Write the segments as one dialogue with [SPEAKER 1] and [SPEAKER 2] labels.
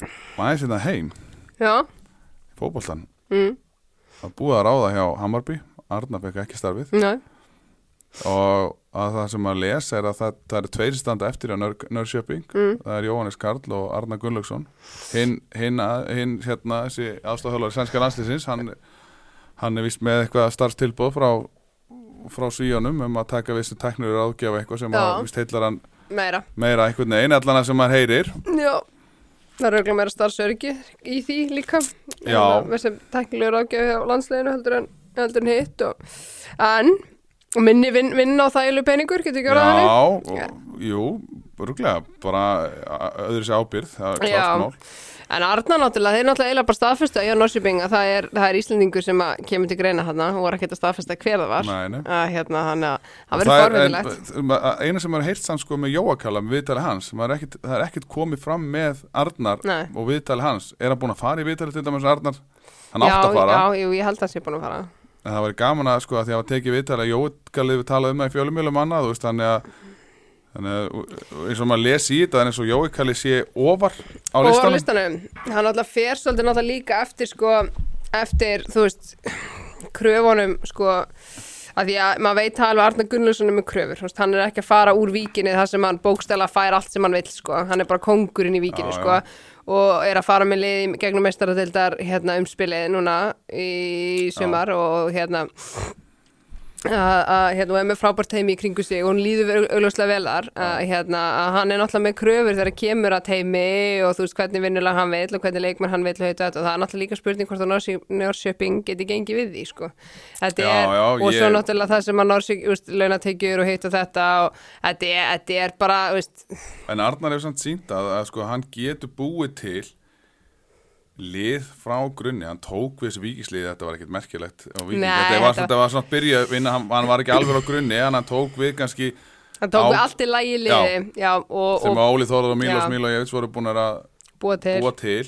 [SPEAKER 1] hoppa aðeins þetta heim
[SPEAKER 2] já,
[SPEAKER 1] í fótboltan
[SPEAKER 2] mm,
[SPEAKER 1] að búið að ráða hjá Hammarby Arnar fekk ekki starfið
[SPEAKER 2] já,
[SPEAKER 1] og að það sem að lesa er að það, það eru tveir standa eftir á Nör- Norrköping
[SPEAKER 2] Mm.
[SPEAKER 1] það er Jóhannes Karl og Arnar Gunnlaugsson hinn hin, hin, hérna þessi aðstofhjálfari sænska landslisins hann, hann er vist með eitthvað starfstilbóð frá, frá svíjónum um að taka vissu teknur og ráðgjafa eitthvað sem
[SPEAKER 2] Já.
[SPEAKER 1] að vist heillar hann
[SPEAKER 2] meira
[SPEAKER 1] meira einhvern veginn allan að sem maður heyrir
[SPEAKER 2] já, það er auðvitað meira starfsörgi í því líka Hérna,
[SPEAKER 1] Já.
[SPEAKER 2] með sem teknilegur ágjöf hjá landsleginu heldur en, heldur en hitt og, en minni vinn vin á þægilu peningur getur ekki orðað
[SPEAKER 1] Já,
[SPEAKER 2] þannig
[SPEAKER 1] og, jú, örglega bara a- öðru sér ábyrð það er
[SPEAKER 2] Já.
[SPEAKER 1] klart mál
[SPEAKER 2] En Arna náttúrulega, þeir náttúrulega eiginlega bara staðfestu að Jón Norsjöbing að það er, það er Íslendingur sem að kemur til greina hann og var ekkert að staðfesta hver það var
[SPEAKER 1] Nei, nei.
[SPEAKER 2] að hérna hann að það verður
[SPEAKER 1] Það er-
[SPEAKER 2] forvindilegt
[SPEAKER 1] en- ma- eina sem maður heilt samt sko með Jóakala með viðtali hans, maður er ekkit, það er ekkit komið fram með Arnar
[SPEAKER 2] Nei.
[SPEAKER 1] og viðtali hans er hann búin að fara í viðtali til dæmis Arnar hann átt að
[SPEAKER 2] Já,
[SPEAKER 1] fara,
[SPEAKER 2] já, jú, ég held að það sé búin að fara
[SPEAKER 1] en það væri gaman að sko að því að hafa tekið viðtali að Jóakala við talað um það í fjölumjölum annað, þú veist, þannig að þannig að og eins og maður lesi í þetta en eins og Jóakali sé ofar á
[SPEAKER 2] Og á
[SPEAKER 1] listanum,
[SPEAKER 2] listanum, hann náttúrulega fer svolítið náttúrulega líka eftir sko, eftir, þú veist kröfunum sko að því að maður veit alveg að Arna Gunnlaugsson er með kröfur, þú veist, hann er ekki að fara úr víkinni þar sem hann bókstæla fær allt sem hann vill sko, hann er bara kongurinn í víkinni
[SPEAKER 1] Já,
[SPEAKER 2] sko og er að fara með liði gegnum mestaradeildar hérna umspilið núna í sumar og hérna að að, hérna, og er með frábært teimi í kringu sig og hún líður augljóslega vel þar að, hérna, að hann er náttúrulega með kröfur þegar kemur að teimi og þú veist hvernig vinnulega hann vill og hvernig leikmenn hann vill og, heit og, þetta. og það er náttúrulega líka spurning hvort að Norsi- Norrköping geti gengið við því sko. Þetta
[SPEAKER 1] Já,
[SPEAKER 2] er,
[SPEAKER 1] já,
[SPEAKER 2] og svo
[SPEAKER 1] ég-
[SPEAKER 2] náttúrulega það sem að Norsi launategjur og hitt og þetta og þetta er, þetta er bara þú veist,
[SPEAKER 1] en Arnar hefur samt sínt að, að sko hann getur búið til lið frá grunni, hann tók við þessu víkislið þetta var ekkert merkilegt á Víking.
[SPEAKER 2] Nei,
[SPEAKER 1] þetta var,
[SPEAKER 2] þetta-
[SPEAKER 1] þetta var svona að byrja, vinna, hann, hann var ekki alveg á grunni, en hann tók við kannski
[SPEAKER 2] hann tók
[SPEAKER 1] Á-
[SPEAKER 2] við allt í lægi liði já. og,
[SPEAKER 1] sem
[SPEAKER 2] og
[SPEAKER 1] að Óli Þólar og Mílos
[SPEAKER 2] Já.
[SPEAKER 1] Mílojevits voru búin að
[SPEAKER 2] búa til
[SPEAKER 1] búa til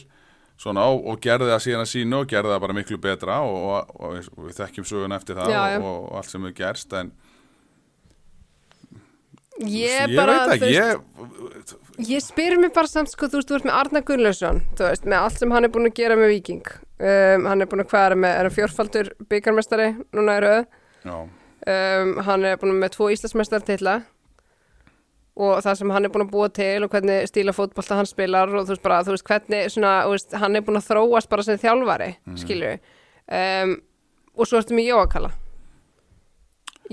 [SPEAKER 1] svona, og, og gerði það síðan að sínu og gerði það bara miklu betra og, og, og, við- og við þekkjum söguna eftir það
[SPEAKER 2] Já, já.
[SPEAKER 1] Og, og allt sem hefur gerst en
[SPEAKER 2] ég,
[SPEAKER 1] ég
[SPEAKER 2] bara,
[SPEAKER 1] veit
[SPEAKER 2] þú
[SPEAKER 1] ekki,
[SPEAKER 2] veist,
[SPEAKER 1] ég
[SPEAKER 2] Ég spyr mér bara samt sko, þú veist, þú ert með Arna Gunnlaugsson, þú veist, með allt sem hann er búin að gera með Viking. Um, hann er búin að hvað er hann með, er hann fjórfaldur byggarmestari, núna er auð.
[SPEAKER 1] já,
[SPEAKER 2] Um, hann er búin með tvo Íslandsmestari titla og það sem hann er búin að búa til og hvernig stíla fótbolta hann spilar og þú veist bara, þú veist, hvernig svona, þú veist, hann er búin að þróast bara sem þjálfari,
[SPEAKER 1] Mhm.
[SPEAKER 2] mm. skilju. Um, og svo ertu með Jóakala.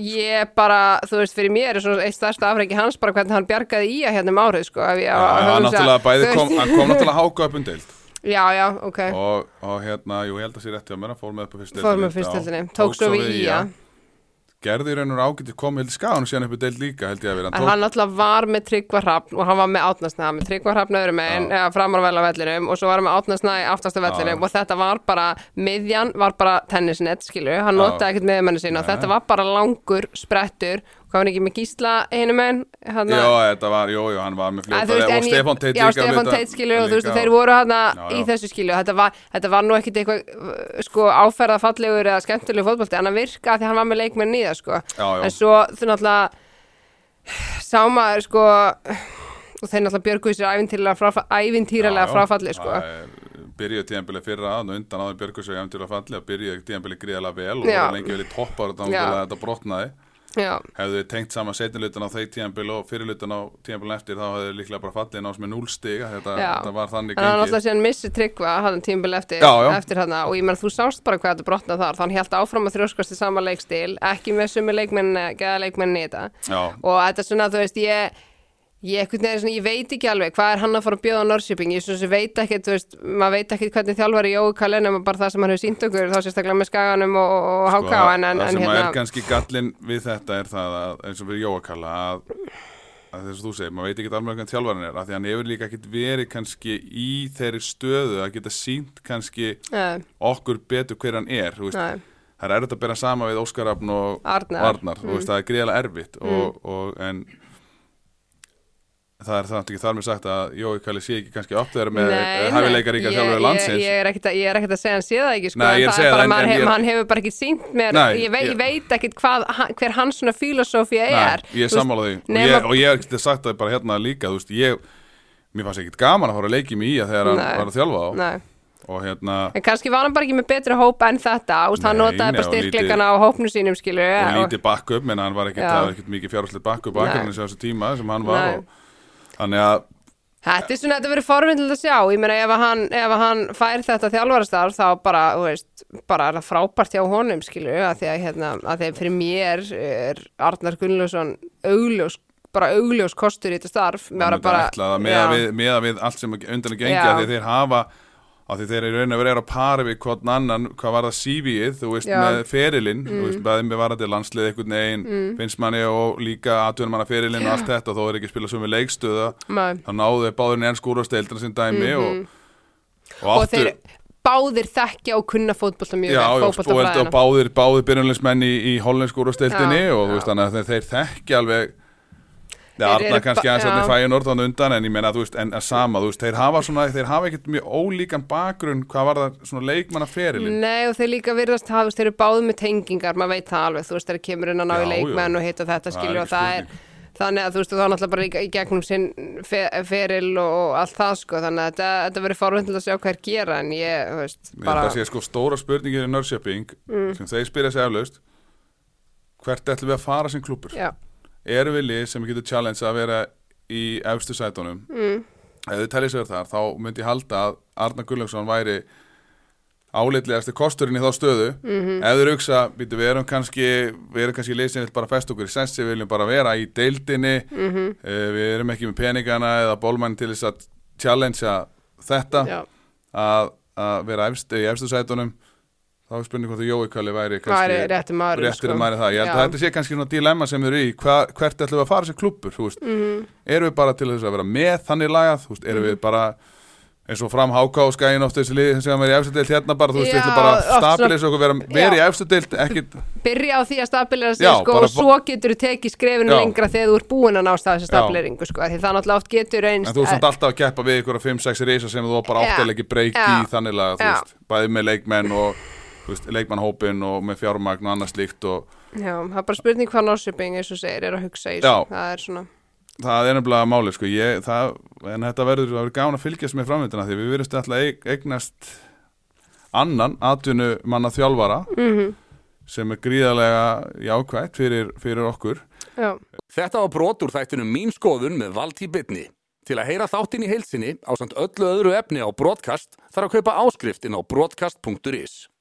[SPEAKER 2] Ég bara, þú veist, fyrir mér er svona eitt stærsta afreiki hans bara hvernig hann bjargaði í að hérna um árið, sko. ef ég á
[SPEAKER 1] já,
[SPEAKER 2] að
[SPEAKER 1] hann
[SPEAKER 2] hugsa-
[SPEAKER 1] náttúrulega
[SPEAKER 2] þú
[SPEAKER 1] bæði
[SPEAKER 2] veist-
[SPEAKER 1] kom, hann kom náttúrulega háka upp um deild
[SPEAKER 2] Já, já, ok
[SPEAKER 1] og, og hérna, jú, ég held að sé rétt hjá mér hann fór með upp á fyrstu
[SPEAKER 2] Fór
[SPEAKER 1] deildinni,
[SPEAKER 2] með
[SPEAKER 1] já.
[SPEAKER 2] fyrstöldinni, tók svo við í ja.
[SPEAKER 1] gerði í raun og raun ágæti komið held skáðan og síðan upp í deild líka held ég að vera
[SPEAKER 2] En hann alltaf var með tryggvarhrafn og hann var með átnarsnæða með tryggvarhrafn öðrum megin, eða framarvæla vellinum og svo var hann með átnarsnæða í aftasta vellinum
[SPEAKER 1] já.
[SPEAKER 2] og þetta var bara, miðjan var bara tennisnett, skilur, hann notaði ekkert miðjumenni sín og
[SPEAKER 1] Nei.
[SPEAKER 2] þetta var bara langur, sprettur hvað var hann ekki með gísla hinum megin hérna? hann
[SPEAKER 1] Jó, þetta var, jú, jú, hann var með
[SPEAKER 2] Að þú
[SPEAKER 1] fljóta og
[SPEAKER 2] en ég-
[SPEAKER 1] Stefán Teit
[SPEAKER 2] já, Stefán Teit skilur og þú veist og þeir voru hana
[SPEAKER 1] Já,
[SPEAKER 2] í
[SPEAKER 1] já.
[SPEAKER 2] þessu skilur þetta var, þetta var nú ekkit eitthvað uh, sko áferðafallegur eða skemmtilegu fótbolti en hann virka því hann var með leikmenn nýða sko
[SPEAKER 1] Já, já.
[SPEAKER 2] en svo þú náttúrulega sá maður sko og þeir náttúrulega björguðu sér ævintýralega, fráfa, ævintýralega fráfalli sko
[SPEAKER 1] Byrjuðu tíðanbilið fyrra aðan og undan áður Björgus og jæmtilega falli og byrjuðu tíðanbilið gríðalega vel og
[SPEAKER 2] Já.
[SPEAKER 1] voru lengi vel í toppar og
[SPEAKER 2] Já.
[SPEAKER 1] þannig að þetta brotnaði
[SPEAKER 2] já,
[SPEAKER 1] Hefðu þið tengt saman setnilutan á þeir tíðanbili og fyrirlutan á tíðanbilin eftir þá hefðu þeir líklega bara fallið náðs með núlstiga þetta,
[SPEAKER 2] já.
[SPEAKER 1] þetta var þannig
[SPEAKER 2] en hann
[SPEAKER 1] gengið.
[SPEAKER 2] náttúrulega síðan missi tryggva hann tímbil eftir,
[SPEAKER 1] Já, já.
[SPEAKER 2] eftir hana og ég menn þú sást bara hvað þetta brotnað þar þann held áfram að þrjóskast í sama leikstil ekki með sumi leikmenn, geða leikmenn nýta
[SPEAKER 1] Já,
[SPEAKER 2] og þetta er svona, þú veist, ég ég, einhvern veginn, svona, ég veit ekki alveg hvað er hann að fara að bjóða á Norrköping, ég svona sem veit ekkert þú veist, maður veit ekkert hvernig þjálfari Jói Kallen nema bara það sem hann hefur sínt okkur, þá sérstaklega með Skaganum og, og
[SPEAKER 1] Sko,
[SPEAKER 2] HK en, en,
[SPEAKER 1] það
[SPEAKER 2] en
[SPEAKER 1] sem
[SPEAKER 2] hérna,
[SPEAKER 1] er kannski gallin við þetta er það að, eins og við Jóakalla að, að þess að þú segir, maður veit ekki alveg hvernig þjálfarinn er, af því hann hefur líka ekkit verið kannski í þeirri stöðu að geta sínt kannski
[SPEAKER 2] Nei,
[SPEAKER 1] okkur betur hver hann er þú veist,
[SPEAKER 2] Nei.
[SPEAKER 1] það er erfitt að bera sama við Óskarafn og
[SPEAKER 2] Arnar. Mm.
[SPEAKER 1] og Arnar þú veist, það er gríðlega erfitt og, og, en það er það ekki þar með sagt að Jói Kalli sé ekki kannski átt þeirra með
[SPEAKER 2] nei,
[SPEAKER 1] hæfileikaríka
[SPEAKER 2] nei,
[SPEAKER 1] þjálfur
[SPEAKER 2] ég-
[SPEAKER 1] landsins
[SPEAKER 2] ég, ég, er ekkert að- ég er ekkert að segja hann sé það ekki sko,
[SPEAKER 1] Nei, ég er
[SPEAKER 2] en
[SPEAKER 1] að
[SPEAKER 2] það
[SPEAKER 1] segja
[SPEAKER 2] er bara,
[SPEAKER 1] það, en-
[SPEAKER 2] maður
[SPEAKER 1] en
[SPEAKER 2] hef,
[SPEAKER 1] ég-
[SPEAKER 2] hann hefur bara ekkert sínt mér,
[SPEAKER 1] Nei,
[SPEAKER 2] ég, vei,
[SPEAKER 1] ég-
[SPEAKER 2] ég veit ekkert hvað, hann- hver hans svona fílosófía
[SPEAKER 1] Nei,
[SPEAKER 2] er
[SPEAKER 1] ég
[SPEAKER 2] Þú veist,
[SPEAKER 1] sammála því og
[SPEAKER 2] nema-
[SPEAKER 1] ég, og ég hef sagt það bara hérna líka þú veist, ég, mér fannst ekkit gaman að fara að leiki mig í að þegar hann
[SPEAKER 2] Nei.
[SPEAKER 1] var að þjálfa á
[SPEAKER 2] Nei.
[SPEAKER 1] og hérna,
[SPEAKER 2] En kannski var hann bara ekki með betri hóp en þetta, úst, hann
[SPEAKER 1] Nei,
[SPEAKER 2] notaði
[SPEAKER 1] nei,
[SPEAKER 2] bara
[SPEAKER 1] og lítið-
[SPEAKER 2] styrkleikana á hópnu sínum, skilur við.
[SPEAKER 1] og lítið backup menn hann var ekkit,
[SPEAKER 2] Já.
[SPEAKER 1] það var ekkit mikið fjárhaldslið backup
[SPEAKER 2] Nei.
[SPEAKER 1] akkurinn þessu tíma sem hann var
[SPEAKER 2] Nei.
[SPEAKER 1] og, þannig að
[SPEAKER 2] Þetta er svona, þetta verður forvindilegt að sjá, ég meina ef að hann, ef að hann fær þetta þjálfarastar þá bara, þú veist, bara er það frábært hjá honum, skilur við, að því að, hérna, að því að fyrir mér er Arnar Gunnlaugsson augljós, bara augljós kostur í þetta starf. Mér var
[SPEAKER 1] hann
[SPEAKER 2] að
[SPEAKER 1] bara
[SPEAKER 2] bara-
[SPEAKER 1] ætlaði að meða
[SPEAKER 2] Já.
[SPEAKER 1] við, meða við allt sem undan er gengið
[SPEAKER 2] Já.
[SPEAKER 1] af því þeir hafa af því þeir eru raun og verið að para við hvort annan hvað var það CV-ið, þú veist,
[SPEAKER 2] Já. Mm.
[SPEAKER 1] með ferilinn þú veist, bæðið með varandi landslið einhvern veginn finnst manni og líka atvinnum manna ferilinn og allt þetta, þó er ekki að spila sömu leikstöða
[SPEAKER 2] Nei. Mhm.
[SPEAKER 1] þá náðu þeir báðurinn enn skúrasteildina sem dæmi og, og
[SPEAKER 2] og
[SPEAKER 1] aftur
[SPEAKER 2] þeir báðir þekkja og kunna fótbolta mjög
[SPEAKER 1] Já, já, og
[SPEAKER 2] vel,
[SPEAKER 1] heldur að
[SPEAKER 2] fótboltafræðina.
[SPEAKER 1] báðir, báðir byrjunleismenn í, í hollensku úrvasteildinni
[SPEAKER 2] Já,
[SPEAKER 1] og þú
[SPEAKER 2] já.
[SPEAKER 1] veist þannig að þeir, þeir þekki alveg Já,
[SPEAKER 2] Þeir
[SPEAKER 1] Arna
[SPEAKER 2] eru
[SPEAKER 1] kannski
[SPEAKER 2] ba-
[SPEAKER 1] aðeins að
[SPEAKER 2] já.
[SPEAKER 1] þeir fæja norðan undan en ég meina, þú veist, en að sama, þú veist, þeir hafa svona, þeir hafa ekkert mjög ólíkan bakgrunn hvað var það svona leikmannaferilin
[SPEAKER 2] Nei og þeir líka virðast hafa, þú veist, þeir eru báðu með tengingar, maður veit það alveg, þú veist, þeir kemur inn að ná í
[SPEAKER 1] Já,
[SPEAKER 2] leikmenn
[SPEAKER 1] já.
[SPEAKER 2] og hitt og þetta
[SPEAKER 1] Það
[SPEAKER 2] skilur
[SPEAKER 1] er
[SPEAKER 2] og
[SPEAKER 1] ekki
[SPEAKER 2] það er, þannig að þú veist, og þá náttúrulega bara í, í gegnum sinn fe, feril og, og allt það, sko, þannig að þetta, þetta verður forvendilega að sjá hvað er gera en ég, þú veist,
[SPEAKER 1] Ég held
[SPEAKER 2] bara, Mm.
[SPEAKER 1] að sé sko stóra spurningin í Norrköping sem þeir spyrja sig aflaust hvert ætlum við að fara sem klúpur?
[SPEAKER 2] já,
[SPEAKER 1] erum við lið sem getur challenge að vera í efstu sætunum mm. ef þið teljið sér þar þá myndi ég halda að Arnar Gulljófsson væri álitlegasti kosturinn í þá stöðu -hmm. ef þeir hugsa, býtu, við erum kannski við erum kannski lið sem vil bara festa okkur í sensi við viljum bara vera í deildinni -hmm. við erum ekki með peningana eða bólmann til þess að challengea þetta
[SPEAKER 2] já,
[SPEAKER 1] að, að vera efst, í efstu sætunum þá er spurning hvort að Jói Kalli væri
[SPEAKER 2] það
[SPEAKER 1] kannski
[SPEAKER 2] er réttum maður,
[SPEAKER 1] réttir sko. maður í það, ég held
[SPEAKER 2] Já.
[SPEAKER 1] að þetta sé kannski svona dilemma sem eru í, hva, hvert ætlum við að fara sem klubbur þú veist,
[SPEAKER 2] Mhm.
[SPEAKER 1] erum við bara til þess að vera með þannig lagað, þú veist, erum við bara eins og fram háká og skæin oft þessi lið sem er í efstu deilt hérna bara, þú veist, við
[SPEAKER 2] Já,
[SPEAKER 1] ætlum bara að
[SPEAKER 2] oft svona-
[SPEAKER 1] stabilisa okkur, vera, vera í efstu deilt ekkit,
[SPEAKER 2] byrja á því að stabilira sig
[SPEAKER 1] Já,
[SPEAKER 2] sko,
[SPEAKER 1] bara-
[SPEAKER 2] og svo getur þú tekið skrefinu
[SPEAKER 1] Já.
[SPEAKER 2] lengra þegar þú ert búin að násta þessi
[SPEAKER 1] Já.
[SPEAKER 2] stabiliringu sko, af því það náttúrulega oft getur eh, eins
[SPEAKER 1] en þú veist, alltaf að keppa við ykkur á 5-6 reysa sem þú á bara
[SPEAKER 2] Já.
[SPEAKER 1] áttalega ekki breyki
[SPEAKER 2] Já.
[SPEAKER 1] í þannig lagað, þú
[SPEAKER 2] Já.
[SPEAKER 1] veist, bæði með leikmenn og, þú veist, leikmannhópin og með fjármagn og annað slíkt og
[SPEAKER 2] Já, það er bara spurning hvað Norrköping eins og segir er að hugsa í
[SPEAKER 1] Já.
[SPEAKER 2] þessu. Það er svona,
[SPEAKER 1] það er nefnilega máli sko. ég, það, en þetta verður, það verður gána að fylgjast með framvindina því við verðumst alltaf eig, eignast annan atvinnu manna þjálfara
[SPEAKER 2] Mhm.
[SPEAKER 1] sem er gríðarlega jákvætt fyrir, fyrir okkur
[SPEAKER 2] já.
[SPEAKER 3] Þetta var brot úr þættunum Mín skoðun með Valtí Bitni. Til að heyra þáttinn í heilsinni á samt öllu öðru efni á brotkast þarf að kaupa áskrift inn á brotkast.is.